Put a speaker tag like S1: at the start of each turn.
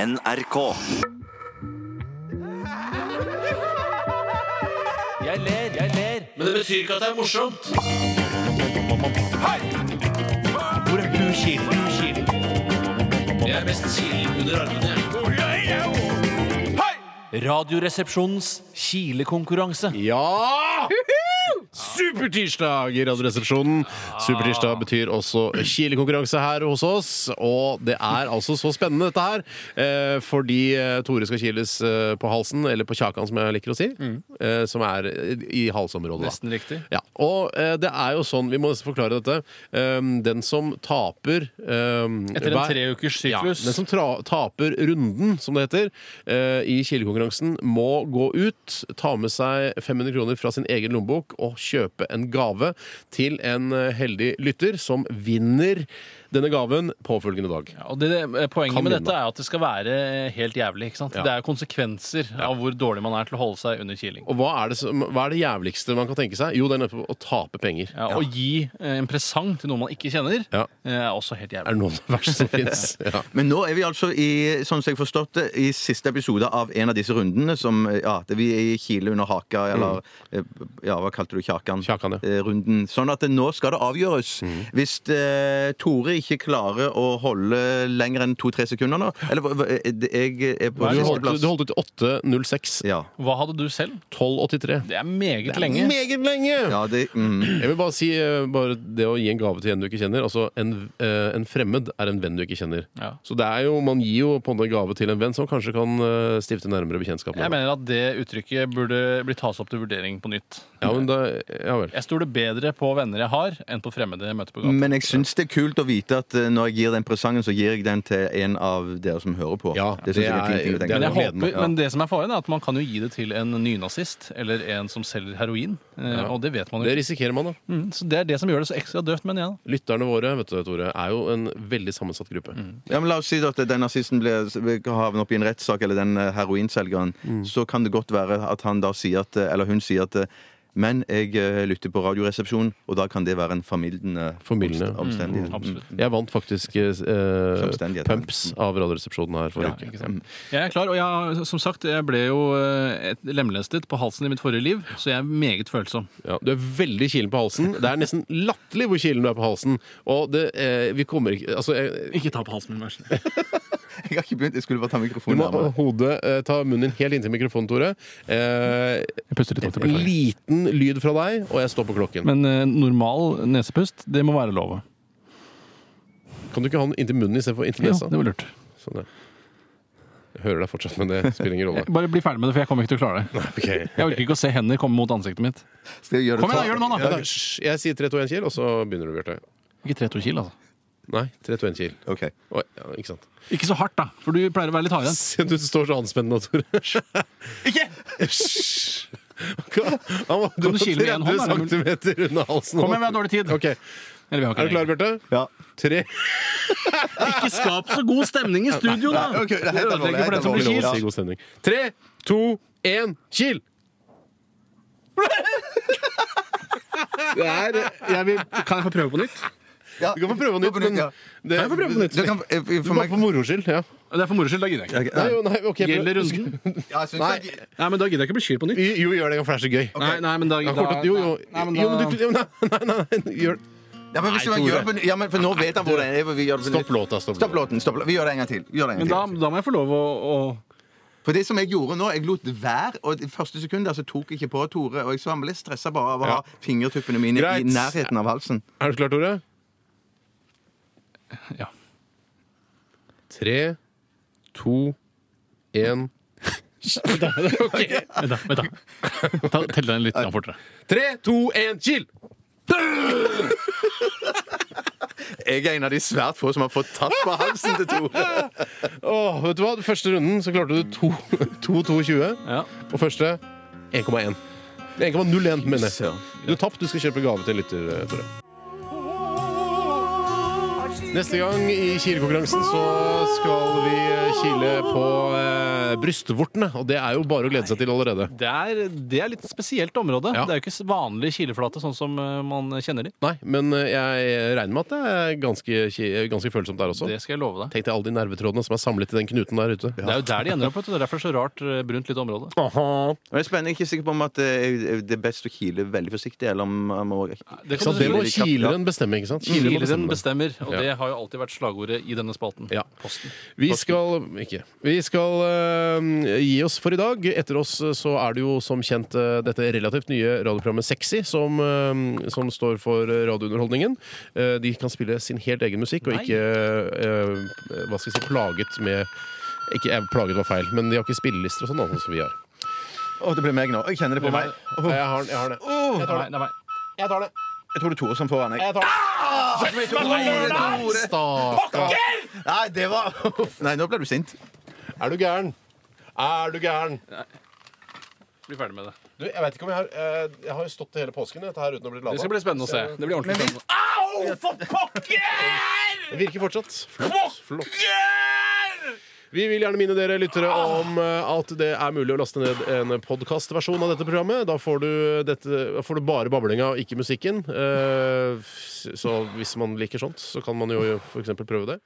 S1: NRK.
S2: Jeg ler, jeg ler. Men det betyr ikke at det er morsomt. Hvor er du, Kil? Jeg er mest kilen under armene. Radioresepsjonens kilekonkurranse.
S3: Ja! Supertirsdag i Radioresepsjonen. Supertirsdag betyr også Chile-konkurranse her hos oss. Og det er altså så spennende, dette her. eh, Fordi eh, Tore skal kiles eh, på halsen, eller på kjakan, som jeg liker å si. eh, Som er i halsområdet, da.
S4: Mm. Nesten riktig.
S3: Ja, og eh, det er jo sånn, vi må nesten forklare dette. Um, den som taper um,
S4: Etter en
S3: hver-
S4: tre ukers
S3: ja, sånn-
S4: syklus.
S3: Den som tra taper runden, som det heter, eh, i kilekonkurransen, må gå ut, ta med seg 500 kroner fra sin egen lommebok og kjøpe en gave til en eh, heldig lytter som vinner denne gaven påfølgende dag.
S4: Ja, og det, det- poenget
S3: Kan
S4: med
S3: vinne.
S4: dette er at det skal være eh, helt jævlig. ikke sant? Det er jo konsekvenser av hvor dårlig man er til å holde seg under kiling.
S3: Og hva er, det som, hva er det jævligste man kan tenke seg? Jo, det er nettopp å tape penger.
S4: Ja, Å gi eh, en presang til noen man ikke kjenner,
S3: Ja.
S4: eh, er også helt
S3: Er
S4: jævlig.
S3: det noe av det verste som fins? Ja.
S1: Men nå er vi altså i sånn som jeg har forstått det, i siste episode av en av disse rundene som eh, ja, det vi er i kile under haka, eller eh, ja, hva kalte du kjakan?
S3: Mm. Kjakan, ja. Mm.
S1: Eh, Runden. Sånn at det, nå skal det avgjøres. Hvis eh, Tore ikke klarer å holde lenger enn to-tre sekunder nå Eller hva- hva- eh, det- jeg er på
S3: Du holdt,
S1: sisteplass.
S3: du holdt ut 8.06.
S1: Ja.
S4: Hva hadde du selv?
S3: 1283.
S4: Det er meget lenge.
S3: Meget lenge!
S1: ja, det mm.
S3: Jeg vil bare si eh, bare det å gi en gave til en du ikke kjenner. Altså, en, eh, en fremmed er en venn du ikke kjenner.
S4: Ja.
S3: Så det er jo, man gir jo på en måte gave til en venn som kanskje kan eh, stifte nærmere bekjentskap
S4: Jeg
S3: med. deg.
S4: mener at det uttrykket burde bli tas opp til vurdering på nytt.
S3: Ja, men da, ja vel.
S4: Jeg stoler bedre på venner jeg har, enn på fremmede jeg møter på gaten.
S1: Men jeg syns det er kult å vite at eh, når jeg gir den presangen, så gir jeg den til en av dere som hører på.
S3: Ja,
S1: det syns
S3: det
S1: jeg er en
S3: er-
S1: fin ting å
S3: det er
S4: Men, jeg
S1: tenke
S3: noe
S1: på.
S3: gleden,
S4: håper,
S1: ja.
S4: men det som er faren, er at man kan jo gi det til en nynazist eller en som selger heroin. eh, Og det vet man jo.
S3: Det risikerer man, da.
S4: Mm, Så det er det som gjør det så ekstra døvt, mener jeg. da.
S3: Lytterne våre vet du, Tore, er jo en veldig sammensatt gruppe.
S4: Mm.
S1: Ja, men La oss si at den nazisten blir- havner opp i en rettssak, eller den eh, heroinselgeren.
S3: Mm.
S1: Så kan det godt være at han da sier at, eller hun sier at eh, men jeg eh, lytter på Radioresepsjonen, og da kan det være en formildende
S3: Formildende. Mm,
S1: omst- omstendighet. Mm.
S4: Absolutt.
S3: Jeg vant faktisk eh,
S1: Samstendighet.
S3: pumps av Radioresepsjonen her forrige uke. Mm.
S4: Ikke sant? Jeg er klar, og jeg, som sagt, jeg ble jo eh, et- lemlestet på halsen i mitt forrige liv, så jeg er meget følsom.
S3: Ja, du er veldig kilen på halsen. Det er nesten latterlig hvor kilen du er på halsen. Og det, eh, vi kommer ikke Altså, eh,
S4: Ikke ta på halsen min, vær så snill.
S1: Jeg har ikke begynt, jeg skulle bare ta
S3: Du
S1: mikrofonen
S3: må
S1: nærmere.
S3: hodet, eh, ta munnen din helt inntil mikrofonen, Tore. Eh,
S4: Jeg puster litt
S3: en liten lyd fra deg, og jeg står på klokken.
S4: Men eh, normal nesepust, det må være lov.
S3: kan du ikke ha den inntil munnen istedenfor inntil
S4: Ja,
S3: nesa?
S4: det var lurt.
S3: Sånn, ja. Jeg hører deg fortsatt, men det spiller ingen rolle.
S4: Jeg- Bare bli ferdig med det, for jeg kommer ikke til å klare det.
S3: Ok.
S4: Jeg orker ikke å se hender komme mot ansiktet mitt.
S1: Skal jeg gjøre
S4: Kom igjen, da, gjør det nå,
S3: Ja,
S4: da!
S3: da, hysj. jeg sier 3, 2, 1 kil, og så begynner du, Bjarte.
S4: Ikke 3-2 kilo, altså.
S3: Nei, 3, 2, 1 kil.
S1: Ok.
S3: Oi, ja, ikke sant.
S4: Ikke så hardt, da, for du pleier å være litt hardere.
S3: Se, Du står så anspent nå, Tore.
S4: Ikke!
S3: Hysj. Han var
S4: Kan du kile med en hånd, er det
S3: 30
S4: mulig?
S3: centimeter unna halsen.
S4: Kom igjen, vi har dårlig tid.
S3: Ok,
S4: Eller, vi har ikke
S3: Er du klar, Bjarte?
S1: Ja.
S3: Tre
S4: Ikke skap så god stemning i studio, da!
S1: Nei, ok, det er helt
S4: ødelegger
S1: alvorlig,
S4: for den
S1: helt
S4: som blir kilt.
S1: alvorlig.
S3: Lov å si god stemning. Tre, to, én, kil! Det er jeg vil,
S4: Kan jeg få prøve på nytt?
S1: Ja.
S3: Du kan få prøve på nytt. Men
S1: ja.
S3: det,
S1: Kan jeg få prøve på nytt?
S3: Du
S1: Du kan- eh, for
S3: bare
S1: meg-
S3: for moro skyld. Ja.
S4: Det er for moro skyld, da gidder jeg ikke.
S1: Ok,
S3: Nei,
S1: nei.
S3: jo, nei, ok, jeg
S4: Gjelder
S3: prøver-
S4: runden?
S1: Ja, jeg syns
S3: Nei.
S1: det er-
S4: Nei, men da gidder jeg ikke bli skilt på nytt.
S3: Jo, jo, gjør det, for det er så gøy.
S4: Nei, nei, men da,
S3: Ja,
S4: da
S3: kort at- Jo, jo.
S4: Nei, men da
S3: jo, men du, jo, nei, nei, nei, nei, gjør
S1: Ja, men hvis
S3: Nei,
S1: man
S3: Tore.
S1: gjør det på- Ja, men for nå vet han hvor det er. Vi gjør det på
S3: Stopp
S1: nytt.
S3: låta. Stopp
S1: Stopp låten. Stopp. låten. Vi gjør det en gang til. Vi Gjør det en gang
S4: men da,
S1: til.
S4: da må jeg få lov å, å
S1: For det som jeg gjorde nå, jeg lot være, og det første sekundet så tok jeg ikke på Tore, og jeg så han ble stressa bare av å ha fingertuppene mine
S3: Greit.
S1: i nærheten av halsen.
S3: Er du klar, Tore?
S4: Ja.
S3: Tre, to, én
S4: Vent, da. vent da. Ta, tell den litt grann fortere.
S3: Tre, to, én, kil!
S1: Jeg er en av de svært få som har fått tatt på halsen til Tore.
S3: Åh, vet du hva? Første runden så klarte du to- 2-2-20.
S4: Ja.
S3: Og første 1,1. 1,01, mener jeg. Du har tapt. Du skal kjøpe gave til en lytter, eh, Tore. Neste gang i kilekonkurransen så skal vi kile på eh, eh, brystvortene. Og det er jo bare å glede seg til allerede.
S4: Det er, det er litt spesielt område.
S3: Ja.
S4: Det er jo ikke s- vanlig kileflate sånn som eh, man kjenner de.
S3: Nei, men eh, jeg regner med at det er ganske, ki- ganske følsomt der også.
S4: Det skal jeg love deg.
S3: Tenk deg alle de nervetrådene som er samlet i den knuten der ute.
S4: Det er jo der de ender opp. vet du. Det er derfor det er så rart eh, brunt lite område.
S3: Aha.
S1: Men jeg er spennende. Jeg er ikke sikker på om at det er- det er best å kile veldig forsiktig, eller om man må
S4: Det
S3: Så
S4: kan
S3: det
S4: du
S3: må
S4: si.
S3: kileren bestemme, ikke sant? Kileren må
S4: Kileren
S3: bestemme.
S4: bestemmer, og
S3: Ja.
S4: det har jo alltid vært slagordet i denne spalten.
S3: Ja.
S4: Posten.
S3: Vi skal ikke. Vi skal eh, gi oss for i dag. Etter oss eh, så er det jo som kjent eh, dette relativt nye radioprogrammet Sexy som, eh, som står for eh, radiounderholdningen. Eh, de kan spille sin helt egen musikk og
S4: Nei.
S3: ikke eh, hva skal jeg si, plaget med ikke, eh, Plaget var feil, men de har ikke spillelister og sånn, sånn som vi har.
S1: Å, det ble meg nå. Jeg kjenner det på meg.
S3: Jeg har, den, jeg har det.
S4: Det er meg, det er meg.
S3: Jeg tar det.
S1: Jeg tror det er Tore som får den. jeg.
S3: Jeg tar det.
S1: Tore!
S3: Stakkar.
S1: Nei, det var Uff, Nei, nå ble du sint.
S3: Er du gæren? Er du gæren?
S4: Bli ferdig med det.
S3: Du, jeg vet ikke om jeg har eh, Jeg har jo stått hele påsken dette her uten å bli lada.
S4: Det skal bli spennende å se. Det blir ordentlig spennende.
S3: Det virker fortsatt. Flott. flott. Vi vil gjerne minne dere lyttere om eh, at det er mulig å laste ned en podkastversjon av dette programmet. Da får du, dette, da får du bare bablinga og ikke musikken. Eh, Så hvis man liker sånt, så kan man jo f.eks. prøve det.